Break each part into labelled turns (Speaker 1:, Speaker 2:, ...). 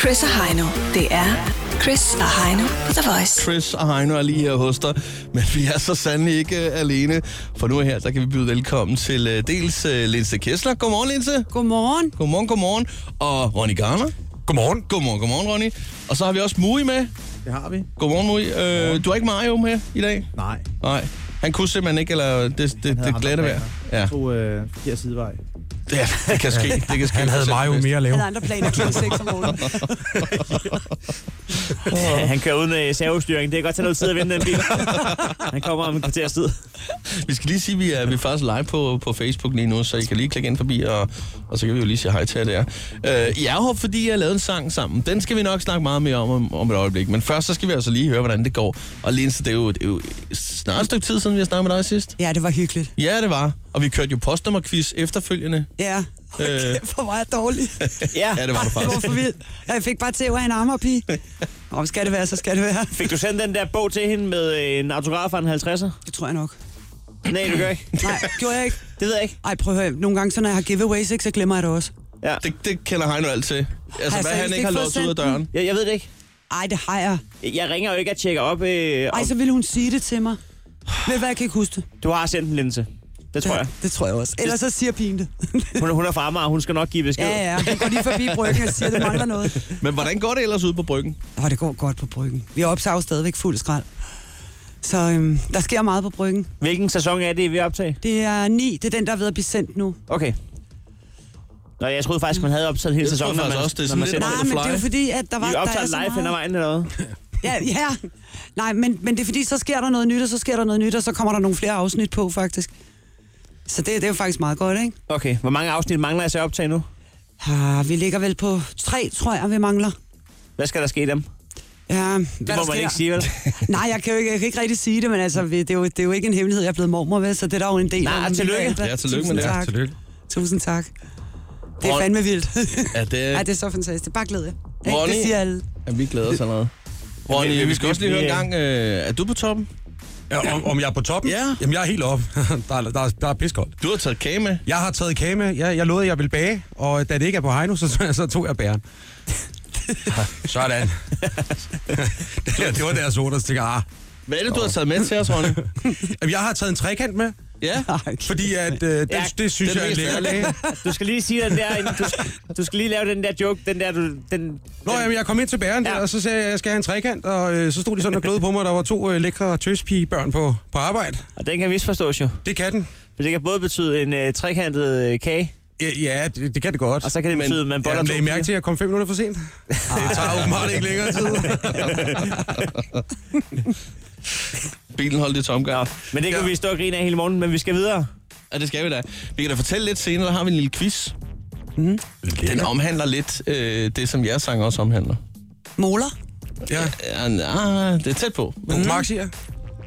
Speaker 1: Chris og Heino. Det er Chris og Heino på The Voice.
Speaker 2: Chris og Heino er lige her hos dig, men vi er så sandelig ikke øh, alene. For nu her, der kan vi byde velkommen til øh, dels øh, Linse Kessler. Godmorgen, Linse.
Speaker 3: Godmorgen.
Speaker 2: Godmorgen, godmorgen. Og Ronny Garner.
Speaker 4: Godmorgen.
Speaker 2: Godmorgen, godmorgen, Ronny. Og så har vi også Mui med.
Speaker 5: Det har vi.
Speaker 2: Godmorgen, Mui. Øh, du har ikke Mario med i dag?
Speaker 5: Nej.
Speaker 2: Nej. Han kunne simpelthen ikke, eller det, det, det,
Speaker 5: Han havde
Speaker 2: det
Speaker 5: andre
Speaker 2: glatte vejr.
Speaker 5: planer.
Speaker 2: Ja.
Speaker 5: Jeg tog øh, forkert sidevej.
Speaker 2: ja, det kan ske. Det kan ske
Speaker 4: Han havde
Speaker 2: for
Speaker 4: mig jo mere at lave.
Speaker 3: Han har andre planer kl. 6 om morgenen.
Speaker 6: Han kører uden øh, servostyring. Det kan godt tage noget tid at vinde den bil. Han kommer om en kvarters tid.
Speaker 2: Vi skal lige sige, at vi er, vi er faktisk live på, på Facebook lige nu, så I kan lige klikke ind forbi, og, og så kan vi jo lige sige hej til jer der. Øh, I er her, fordi jeg har lavet en sang sammen. Den skal vi nok snakke meget mere om, om om et øjeblik. Men først så skal vi altså lige høre, hvordan det går. Og Linse, det er jo, det er jo snart et stykke tid siden, vi har snakket med dig sidst.
Speaker 3: Ja, det var hyggeligt.
Speaker 2: Ja, det var. Og vi kørte jo postnummerquiz efterfølgende.
Speaker 3: Ja.
Speaker 2: Øh.
Speaker 3: Øh. For mig er dårligt.
Speaker 6: Ja.
Speaker 2: Ja, det var du
Speaker 3: Det var
Speaker 2: faktisk.
Speaker 3: for vildt. Jeg fik bare tæv af en armerpige. Om skal det være, så skal det være.
Speaker 6: Fik du sendt den der bog til hende med øh, en autograf af en 50'er?
Speaker 3: Det tror jeg nok.
Speaker 6: Nej, du gør ikke.
Speaker 3: Nej, gjorde jeg ikke.
Speaker 6: Det ved jeg ikke.
Speaker 3: Ej, prøv at høre. Nogle gange, så når jeg har giveaways, ikke, så glemmer jeg det også.
Speaker 6: Ja.
Speaker 2: Det, det kender Heino alt til. Altså, hvad
Speaker 3: jeg
Speaker 2: han
Speaker 3: seriøst
Speaker 2: ikke har
Speaker 3: ikke
Speaker 2: låst
Speaker 3: fået
Speaker 2: ud af
Speaker 3: sendt den?
Speaker 2: døren.
Speaker 6: Jeg, jeg ved det ikke.
Speaker 3: Ej, det har jeg.
Speaker 6: Jeg ringer jo ikke at tjekke op. Øh,
Speaker 3: Ej,
Speaker 6: om,
Speaker 3: så ville hun sige det til mig. Ved du hvad, jeg kan ikke huske det.
Speaker 6: Du har sendt en linse. Det tror jeg.
Speaker 3: Det tror jeg også. Ellers så siger pigen det.
Speaker 6: Hun, hun er fra Amager, hun skal nok give besked.
Speaker 3: ja, ja. Hun går lige forbi bryggen og siger, det mangler noget.
Speaker 2: Men hvordan går det ellers ude på bryggen?
Speaker 3: Og det går godt på bryggen. Vi optager jo stadigvæk fuld skrald. Så øhm, der sker meget på bryggen.
Speaker 6: Hvilken sæson er det, vi optager?
Speaker 3: Det er 9, det er den, der er ved at blive sendt nu.
Speaker 6: Okay. Nå, jeg troede faktisk, man havde optaget hele
Speaker 2: Jeg troede
Speaker 6: sæsonen. når
Speaker 2: faktisk
Speaker 6: man-
Speaker 2: også, det er
Speaker 6: når
Speaker 2: sådan
Speaker 6: man
Speaker 2: lidt-
Speaker 6: sender
Speaker 3: Nej,
Speaker 2: the
Speaker 6: den.
Speaker 3: men det er jo
Speaker 2: fly.
Speaker 3: fordi, at der var...
Speaker 6: Vi
Speaker 3: der er
Speaker 6: optager
Speaker 3: så
Speaker 6: live
Speaker 3: meget-
Speaker 6: hen ad vejen eller noget.
Speaker 3: Ja, ja. Nej, men, men det er fordi, så sker der noget nyt, og så sker der noget nyt, og så kommer der nogle flere afsnit på, faktisk. Så det, det er jo faktisk meget godt, ikke?
Speaker 6: Okay, hvor mange afsnit mangler jeg så at optage nu?
Speaker 3: Ah, vi ligger vel på tre, tror jeg, vi mangler.
Speaker 6: Hvad skal der ske i dem? Det
Speaker 3: Ja, det hvad
Speaker 6: må
Speaker 3: der
Speaker 6: man
Speaker 3: sker.
Speaker 6: ikke sige, vel?
Speaker 3: Nej, jeg kan, jo ikke, jeg kan ikke rigtig sige det, men altså, vi- det er, jo, det er jo ikke en hemmelighed, jeg er blevet mormor ved, så det er der jo en del
Speaker 6: Nej,
Speaker 3: af.
Speaker 6: tillykke.
Speaker 2: Ja, tillykke med
Speaker 3: Tusind
Speaker 2: det. Ja,
Speaker 3: Tak.
Speaker 4: Tillykke.
Speaker 3: Tusind tak. Det er
Speaker 2: Ron-
Speaker 3: fandme vildt.
Speaker 2: Er det,
Speaker 3: Ej, det er så fantastisk. Bare glæde jer. Ikke?
Speaker 2: Ronny?
Speaker 3: Det siger alle.
Speaker 2: er vi glæder os allerede? Ronny, vi skal også lige høre en gang. Øh, er du på toppen?
Speaker 4: Ja, om, om jeg er på toppen?
Speaker 2: Ja.
Speaker 4: Jamen, jeg er helt oppe. der, er, der, er, der er piskoldt.
Speaker 2: Du har taget kage med.
Speaker 4: Jeg har taget kage med. Jeg, jeg lovede, at jeg ville bage, og da det ikke er på Heino, så, så tog jeg bæren. Sådan. det, det var deres ord, der tænker, ah.
Speaker 2: Hvad er det, du har taget med til os, Ronny?
Speaker 4: Jamen, jeg har taget en trekant med,
Speaker 2: Ja.
Speaker 3: Ej,
Speaker 4: fordi at, øh, det,
Speaker 6: Ja,
Speaker 4: det synes
Speaker 2: den
Speaker 4: jeg er
Speaker 2: mest
Speaker 4: lækker
Speaker 2: ærlige.
Speaker 4: kage.
Speaker 6: Du skal lige sige den der, du, du skal lige lave den der joke, den der, du, den,
Speaker 4: Nå, jamen, jeg kom ind til bæren der,
Speaker 6: Ja.
Speaker 4: og så sagde jeg, at jeg skal have en trekant, og øh, så stod de sådan og glødede på mig, og der var to øh, lækre tøspigebørn på, på arbejde.
Speaker 6: og den kan misforstås jo.
Speaker 4: Det kan den.
Speaker 6: For det kan både betyde en øh, trekantet øh, kage,
Speaker 4: Øh, Ja, det, det kan det godt.
Speaker 6: og så kan det
Speaker 2: Men-
Speaker 6: betyde, at man boller
Speaker 4: Jeg lagde
Speaker 6: to
Speaker 4: mærke til, at jeg kom fem minutter for sent. Det tager åbenbart ikke længere tid.
Speaker 2: Bilen holdt i tomgang.
Speaker 6: piger. Men det kan
Speaker 4: Ja.
Speaker 6: vi stå og grine af hele morgenen, men vi skal videre.
Speaker 2: Ja, det skal vi da. Vi kan da fortælle lidt senere, der har vi en lille quiz. Mm. Den omhandler lidt øh, det, som jeres sang også omhandler.
Speaker 3: Måler?
Speaker 4: Ja.
Speaker 2: Ja, nej, det er tæt på. Men,
Speaker 4: Mark siger,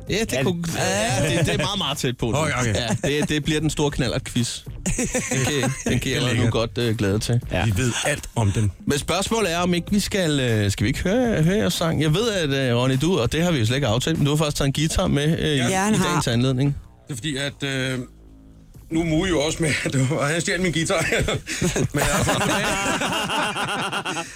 Speaker 2: ja, det,
Speaker 6: Ja,
Speaker 2: kunne, ja, det, det er meget, meget tæt på.
Speaker 4: Okay, okay.
Speaker 2: Ja, det, det bliver den store knallert-quiz. Den kan, den kan jeg allerede nu
Speaker 4: lækkert.
Speaker 2: godt øh, glæde til.
Speaker 6: Ja.
Speaker 4: vi ved alt om den.
Speaker 2: Men spørgsmålet er, om ikke vi skal... Øh, skal vi ikke høre, høre jeres sang? Jeg ved, at øh, Ronny, du, og det har vi jo slet ikke aftalt, men du har faktisk taget en guitar med øh,
Speaker 3: Ja,
Speaker 2: ja,
Speaker 3: han
Speaker 2: i, i
Speaker 3: har.
Speaker 2: dagens anledning.
Speaker 4: Det er fordi, at... Øh, nu er Mue jo også med, at det var- han stjal min guitar. Men altså,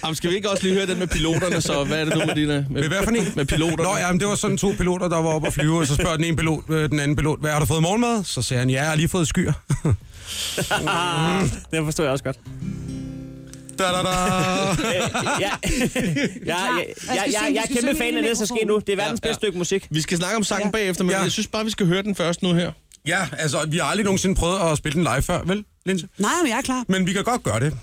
Speaker 2: Jamen, skal vi ikke også lige høre den med piloterne, så hvad er det nu med dine...
Speaker 4: med hvad for en?
Speaker 2: Med piloterne.
Speaker 4: Nå, ja, men det var sådan to piloter, der var oppe og flyve, og så spørger den ene pilot, øh, den anden pilot, hvad har du fået morgenmad? Så sagde han, ja, jeg har lige fået skyer.
Speaker 6: Den forstår jeg også godt.
Speaker 4: da, da, da.
Speaker 6: Øh, jeg, jeg, jeg, jeg, jeg, jeg er kæmpe fan af det, der skal ske nu. Det er verdens
Speaker 2: Ja, ja.
Speaker 6: bedste stykke musik.
Speaker 2: Vi skal snakke om sangen ja. bagefter, men ja.
Speaker 4: Ja.
Speaker 2: jeg synes bare, vi skal høre den først nu her.
Speaker 4: Ja, altså, vi har aldrig nogensinde prøvet at spille den live før, vel, Linse?
Speaker 3: Nej, men jeg er klar.
Speaker 4: Men vi kan godt gøre det.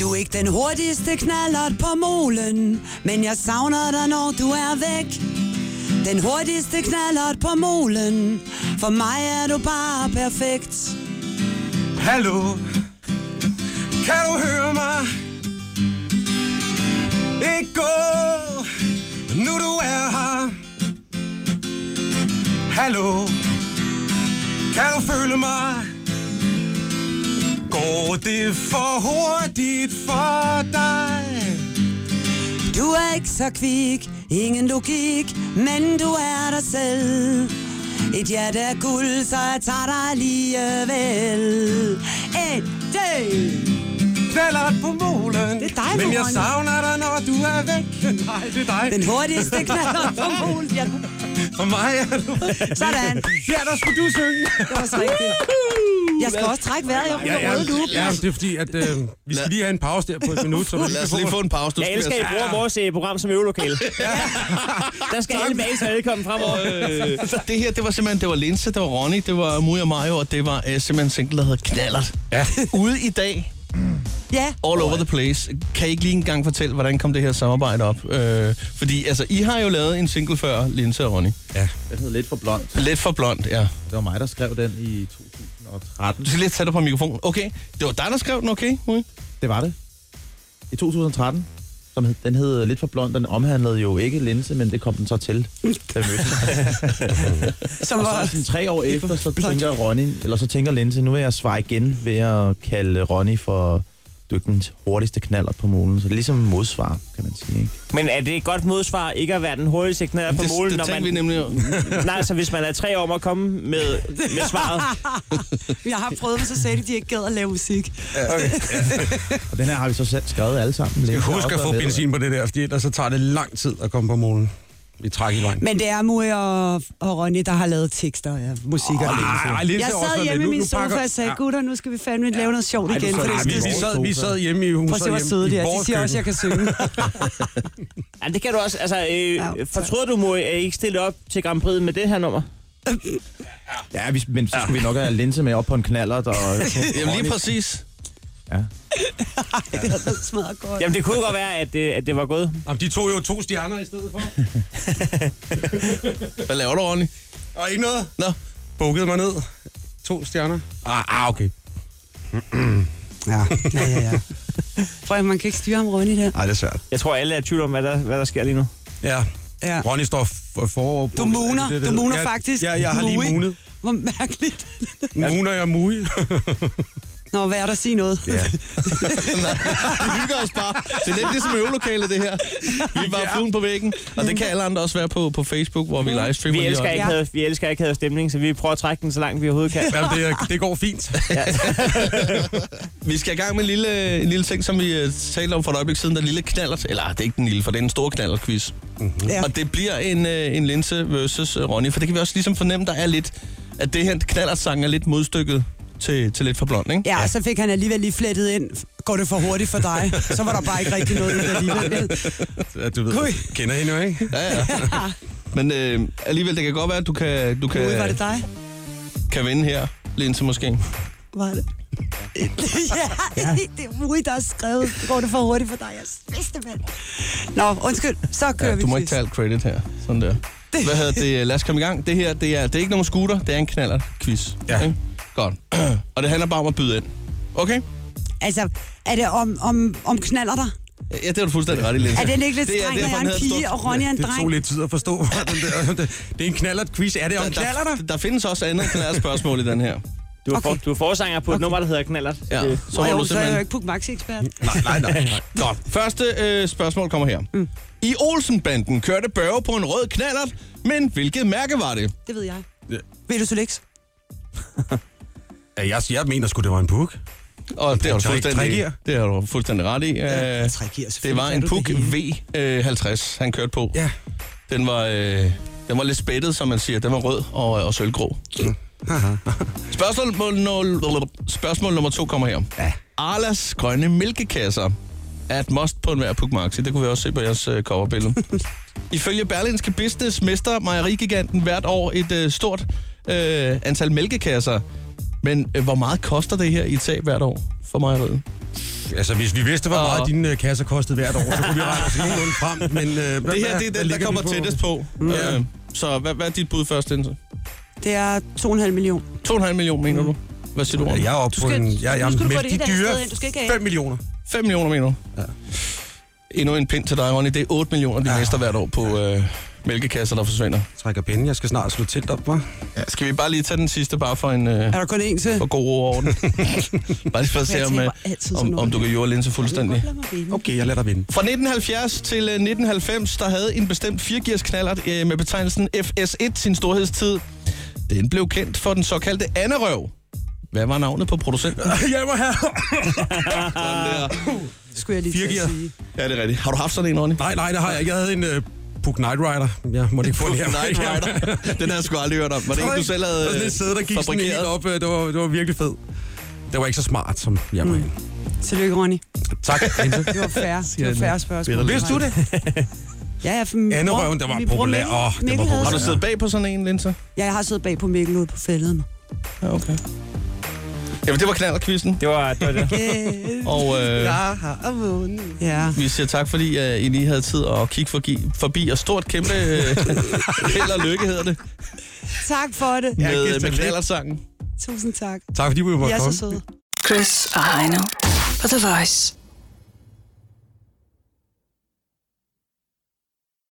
Speaker 3: Du er ikke den hurtigste knallert på molen, men jeg savner dig, når du er væk. Den hurtigste knallert på molen, for mig er du bare perfekt.
Speaker 4: Hallo, kan du høre mig? Ikke gå, nu du er her. Hallo, kan du føle mig? Går det for hurtigt for dig?
Speaker 3: Du er ikke så kvik, ingen logik, men du er dig selv. Et hjerte er guld, så jeg tager dig alligevel. Et, det.
Speaker 4: Knallert på målen. molen.
Speaker 3: Det er dig,
Speaker 4: Men jeg
Speaker 3: Lorne.
Speaker 4: savner dig, når du er væk. Nej, det er dig.
Speaker 3: Den hurtigste knaller på mulen. Ja,
Speaker 4: For mig er du...
Speaker 3: sådan.
Speaker 4: Ja, der skulle du synge.
Speaker 3: Det var så rigtigt. Jeg skal også trække vejret. Jeg bruger Altså, røde luge.
Speaker 4: ja, det er fordi, at øh, vi skal lige have en pause der på et minut. Så du
Speaker 2: Lad os
Speaker 4: kan
Speaker 2: lige få en pause. Du
Speaker 6: Jeg elsker, at I
Speaker 2: spiller-
Speaker 6: bruger vores øh, program som øvelokale. Der skal alle mails være velkommen fremover.
Speaker 2: Øh, det her, det var simpelthen, det var Linse, det var Ronny, det var Mui og Majo, og det var øh, simpelthen single, der hedder Knallert.
Speaker 4: Ja.
Speaker 2: Ude i dag,
Speaker 3: Ja,
Speaker 2: all over the place. Kan I ikke lige engang fortælle, hvordan kom det her samarbejde op? Øh, fordi, altså, I har jo lavet en single før, Linse og Ronny.
Speaker 5: Den hedder Lidt for blond.
Speaker 2: Lidt for blond, ja.
Speaker 5: Det var mig, der skrev den i 2013.
Speaker 2: Du skal lidt tage dig på mikrofonen. Okay, det var dig, der skrev den, okay? Mui?
Speaker 5: Det var det. I 2013. Som hed, den hed Lidt for blond. Den omhandlede jo ikke linse, men det kom den så til. da vi mødtes.
Speaker 3: som
Speaker 5: og
Speaker 3: var...
Speaker 5: så sådan tre år efter, så
Speaker 3: blond.
Speaker 5: tænker Ronny, eller så tænker Linse, nu vil jeg svare igen ved at kalde Ronny for dykkens hurtigste knaller på målen. Så det er ligesom modsvar, kan man sige. Ikke?
Speaker 6: Men er det et godt modsvar ikke at være den hurtigste knæder på
Speaker 2: det,
Speaker 6: målen,
Speaker 2: det
Speaker 6: når
Speaker 2: tænkte
Speaker 6: man...
Speaker 2: vi nemlig.
Speaker 6: Nej, så hvis man er tre år om at komme med, med svaret.
Speaker 3: Jeg har prøvet dem, så sagde de, at de ikke gad at lave musik.
Speaker 5: Og den her har vi så selv skrevet alle sammen.
Speaker 4: Jeg husker at få benzin på det der, fordi ellers så tager det lang tid at komme på målen. Vi trækker i vejen.
Speaker 3: Men det er Mui og, og Ronny, der har lavet tekster af musik og
Speaker 4: Ej, ej,
Speaker 3: oh,
Speaker 4: Linse
Speaker 3: Jeg
Speaker 4: er også
Speaker 3: sad hjemme i
Speaker 4: lidt. Nu-
Speaker 3: min
Speaker 4: nu pakker-
Speaker 3: sofa og sagde,
Speaker 4: Ja.
Speaker 3: gutter, nu skal vi fandme lave noget sjovt igen. For det
Speaker 4: Nej,
Speaker 3: er
Speaker 4: vi,
Speaker 3: skide
Speaker 4: vi,
Speaker 3: sjovt."
Speaker 4: sad, vi sad hjemme i huset.
Speaker 3: Prøv at se, hvor
Speaker 4: hjemme
Speaker 3: søde
Speaker 4: i
Speaker 3: de er. De
Speaker 4: vores
Speaker 3: siger også, at jeg
Speaker 4: køkken.
Speaker 3: kan synge.
Speaker 6: Ja, det kan du også. Altså, øh,
Speaker 3: Ja, tak.
Speaker 6: fortryder du, Mori, at I ikke stille op til Grand Prix med det her nummer?
Speaker 5: Ja, vi, men så skulle vi nok have linse med op på en knaller. Og,
Speaker 2: Jamen lige præcis.
Speaker 5: ja.
Speaker 3: Det er så smadret godt.
Speaker 6: Jamen, det kunne godt være, at, øh, at det var gået.
Speaker 4: Jamen, de tog jo to stjerner i stedet for.
Speaker 2: Hvad laver du, Ronny?
Speaker 4: Og ikke noget.
Speaker 2: Nå,
Speaker 4: Bukkede mig ned. To stjerner. Ah, ah okay.
Speaker 3: Ja, ja, ja. ja. Prøv at man kan ikke styre ham Ronny der.
Speaker 4: Nej, det er svært.
Speaker 6: Jeg tror, alle er i tvivl om, hvad der, hvad der sker lige nu.
Speaker 4: Ja.
Speaker 3: Ja.
Speaker 4: Ronny står for, for
Speaker 3: Du mooner. Du mooner faktisk.
Speaker 4: Ja, jeg har
Speaker 3: Mui.
Speaker 4: lige moonet.
Speaker 3: Hvor mærkeligt.
Speaker 4: Mooner jeg mui.
Speaker 3: Nå, hvad er der at sige noget?
Speaker 4: ja.
Speaker 2: vi hygger os bare. Det er lidt ligesom øvelokalet, det her. Vi er bare fluen på væggen. Og det kan alle andre også være på, på Facebook, hvor vi livestreamer.
Speaker 6: Mm. Vi
Speaker 2: lige
Speaker 6: elsker,
Speaker 2: øjeblikket.
Speaker 6: ikke
Speaker 3: Ja.
Speaker 6: havde, vi elsker ikke havde stemning, så vi prøver at trække den så langt, vi overhovedet kan.
Speaker 4: Jamen, det, er- det går fint.
Speaker 2: Vi skal i gang med en lille, en lille ting, som vi øh, talte om for et øjeblik siden. Der lille knallert. Eller ah, det er ikke den lille, for det er en stor knallert-quiz.
Speaker 6: Mhm.
Speaker 3: Ja.
Speaker 2: Og det bliver en, øh, en Linse versus øh, Ronny, for det kan vi også ligesom fornemme, der er lidt, at det her knallert-sang er lidt modstykket til, til lidt for blond, ikke?
Speaker 3: Ja, og så fik han alligevel lige flettet ind. Går det for hurtigt for dig? Så var der bare ikke rigtig noget i det alligevel.
Speaker 4: Ja, du ved,
Speaker 3: Ui.
Speaker 4: kender hende jo, ikke?
Speaker 2: Ja, ja. Men øh, alligevel, det kan godt være, at du kan, du
Speaker 3: Ui, var det
Speaker 2: kan,
Speaker 3: dig?
Speaker 2: kan vinde her, Linse måske.
Speaker 3: Var det? ja, det er Rui, der har skrevet. Går det for hurtigt for dig? Jeg vidste det, mand. Nå, undskyld. Så kører
Speaker 2: Ja,
Speaker 3: vi
Speaker 2: du må ikke
Speaker 3: quiz.
Speaker 2: tage alt credit her. Sådan der. Hvad hedder det? Lad os komme i gang. Det her, det er, det er ikke nogen scooter, det er en knallert-quiz.
Speaker 4: Ja.
Speaker 2: Ikke? Godt. Og det handler bare om at byde ind. Okay?
Speaker 3: Altså, er det om, om, om knaller dig?
Speaker 2: Ja, det har du fuldstændig ret i, Linse.
Speaker 3: Er den ikke lidt
Speaker 2: Det er
Speaker 3: streng, når
Speaker 2: derfor,
Speaker 3: jeg
Speaker 2: den
Speaker 3: er en
Speaker 2: hedder
Speaker 3: pige,
Speaker 2: Stort-
Speaker 3: og Ronny er en
Speaker 4: Det tog
Speaker 3: dreng?
Speaker 4: lidt tid at forstå. den der- det er en knallert-quiz. Er det om knaller
Speaker 2: Der,
Speaker 4: der?
Speaker 2: der, der findes også andet knallert spørgsmål i den her.
Speaker 6: Du er, for,
Speaker 3: Okay.
Speaker 6: du er forsanger på et nummer, der hedder Knallert.
Speaker 2: Ja.
Speaker 6: Det-
Speaker 2: Så
Speaker 3: Nå,
Speaker 2: må du
Speaker 3: jo, så er jeg jo
Speaker 2: simpelthen...
Speaker 3: ikke Puk Maxi-ekspert.
Speaker 4: Nej, nej, nej. nej.
Speaker 2: Godt. Første øh, spørgsmål kommer her. Mm. I Olsenbanden kørte Børge på en rød knallert, men hvilket mærke var det?
Speaker 3: Det ved jeg.
Speaker 4: Ja.
Speaker 3: Ved du, Solex?
Speaker 4: Ja, Jeg, jeg mener sgu, det var en puk.
Speaker 2: Og det har du
Speaker 4: Tre-
Speaker 2: fuldstændig,
Speaker 4: tregear.
Speaker 2: det har du fuldstændig ret i. Øh,
Speaker 3: Trækker,
Speaker 2: det var en Puk V50, han kørte på.
Speaker 4: Ja.
Speaker 2: Den var, øh, den var lidt spættet, som man siger. Den var rød og, og sølvgrå. spørgsmål, nummer- spørgsmål nummer to kommer her. Ja. Arlas grønne mælkekasser er et must på enhver Puk Maxi. Det kunne vi også se på jeres øh, coverbillede. Ifølge Berlinske Business mister mejerigiganten hvert år et øh, stort øh, antal mælkekasser. Men øh, hvor meget koster det her i tab hvert år for mejeriet?
Speaker 4: Altså, hvis vi vidste, hvor meget
Speaker 2: Og-
Speaker 4: dine øh, kasser kostede hvert år, så kunne vi regne os nogenlunde frem. Men, øh, hvad,
Speaker 2: Det her
Speaker 4: hvad-
Speaker 2: det er
Speaker 4: hvad
Speaker 2: den, der
Speaker 4: ligger
Speaker 2: kommer
Speaker 4: vi på?
Speaker 2: tættest på. Øh, så hvad, hvad er dit bud først, Linse?
Speaker 3: Det er 2,5 millioner.
Speaker 2: 2,5 millioner, mener du? Hvad siger du?
Speaker 4: Ja,
Speaker 2: Ja.
Speaker 4: jeg er oppe
Speaker 3: Du
Speaker 4: på
Speaker 3: skal-
Speaker 4: en... Jeg, jeg,
Speaker 3: nu skal du
Speaker 4: men
Speaker 3: få det
Speaker 4: de
Speaker 3: et andet sted
Speaker 4: dyre
Speaker 3: hen. Du skal ikke af.
Speaker 4: 5 millioner.
Speaker 2: 5 millioner, mener du? Ja. Endnu en pind til dig, Ronny. Det er 8 millioner, de ja. mister hvert år på øh, mælkekasser, der forsvinder.
Speaker 4: Trækker pinde. Jeg skal snart slå telt op, hva'?
Speaker 2: Ja. Skal vi bare lige tage den sidste, bare for en... Øh,
Speaker 3: Er der kun én til?
Speaker 2: for god ro og orden. Bare lige for at se,
Speaker 3: Jeg
Speaker 2: om, øh,
Speaker 3: taber altid sådan
Speaker 2: om, om
Speaker 3: noget.
Speaker 2: du kan jorde linse fuldstændig.
Speaker 3: Lad mig vinde.
Speaker 4: Okay, jeg lader dig vinde.
Speaker 2: Fra 1970 til øh, 1990, der havde en bestemt firgears knallert øh, med betegnelsen FS1 sin storhedstid. Den blev kendt for den såkaldte anerøv. Hvad var navnet på producenten?
Speaker 4: Hjælp mig her.
Speaker 3: Skulle jeg lige til
Speaker 4: Firgear.
Speaker 3: at sige.
Speaker 2: ja, det er rigtigt. Har du haft sådan en, Ronny?
Speaker 4: Nej, nej, det har jeg ikke. Jeg havde en uh, Puk Night Rider. Jeg måtte ikke få den her.
Speaker 2: Night Rider. Den har jeg sgu aldrig hørt om. Var det ikke, du selv havde
Speaker 4: Der var sådan en sæde, der gik sådan helt
Speaker 2: fabrikeret?
Speaker 4: op. Øh, Det var, det var virkelig fed. Det var ikke så smart, som jeg var. Mm.
Speaker 3: Tillykke, Ronny.
Speaker 4: Tak.
Speaker 3: Det var færre. Det var færre spørgsmål.
Speaker 4: Vidste du det?
Speaker 3: Ja, jeg, min bror-
Speaker 4: Anderøven, der var
Speaker 3: min bror
Speaker 4: populær.
Speaker 3: Mikkel-
Speaker 4: Åh, den var
Speaker 3: Mikkel havde
Speaker 4: populær.
Speaker 2: Har du
Speaker 3: sådan-
Speaker 2: siddet bag på sådan en, Linse?
Speaker 3: Ja, jeg har siddet bag på Mikkel ude på fælden.
Speaker 2: Ja, okay. Jamen, det var knallerkvisten.
Speaker 6: Det var det. Var det.
Speaker 2: Og øh,
Speaker 3: Ja.
Speaker 2: vi siger tak, fordi øh, I lige havde tid at kigge forbi, forbi og stort kæmpe øh, held og lykke, hedder det,
Speaker 3: Tak for det.
Speaker 4: Ja,
Speaker 2: med,
Speaker 4: giv os
Speaker 2: med
Speaker 4: tak.
Speaker 2: knallersangen.
Speaker 3: Tusind tak.
Speaker 4: Tak fordi vi måtte
Speaker 3: I er
Speaker 4: komme.
Speaker 3: så søde.
Speaker 1: Chris og Heino på The Voice.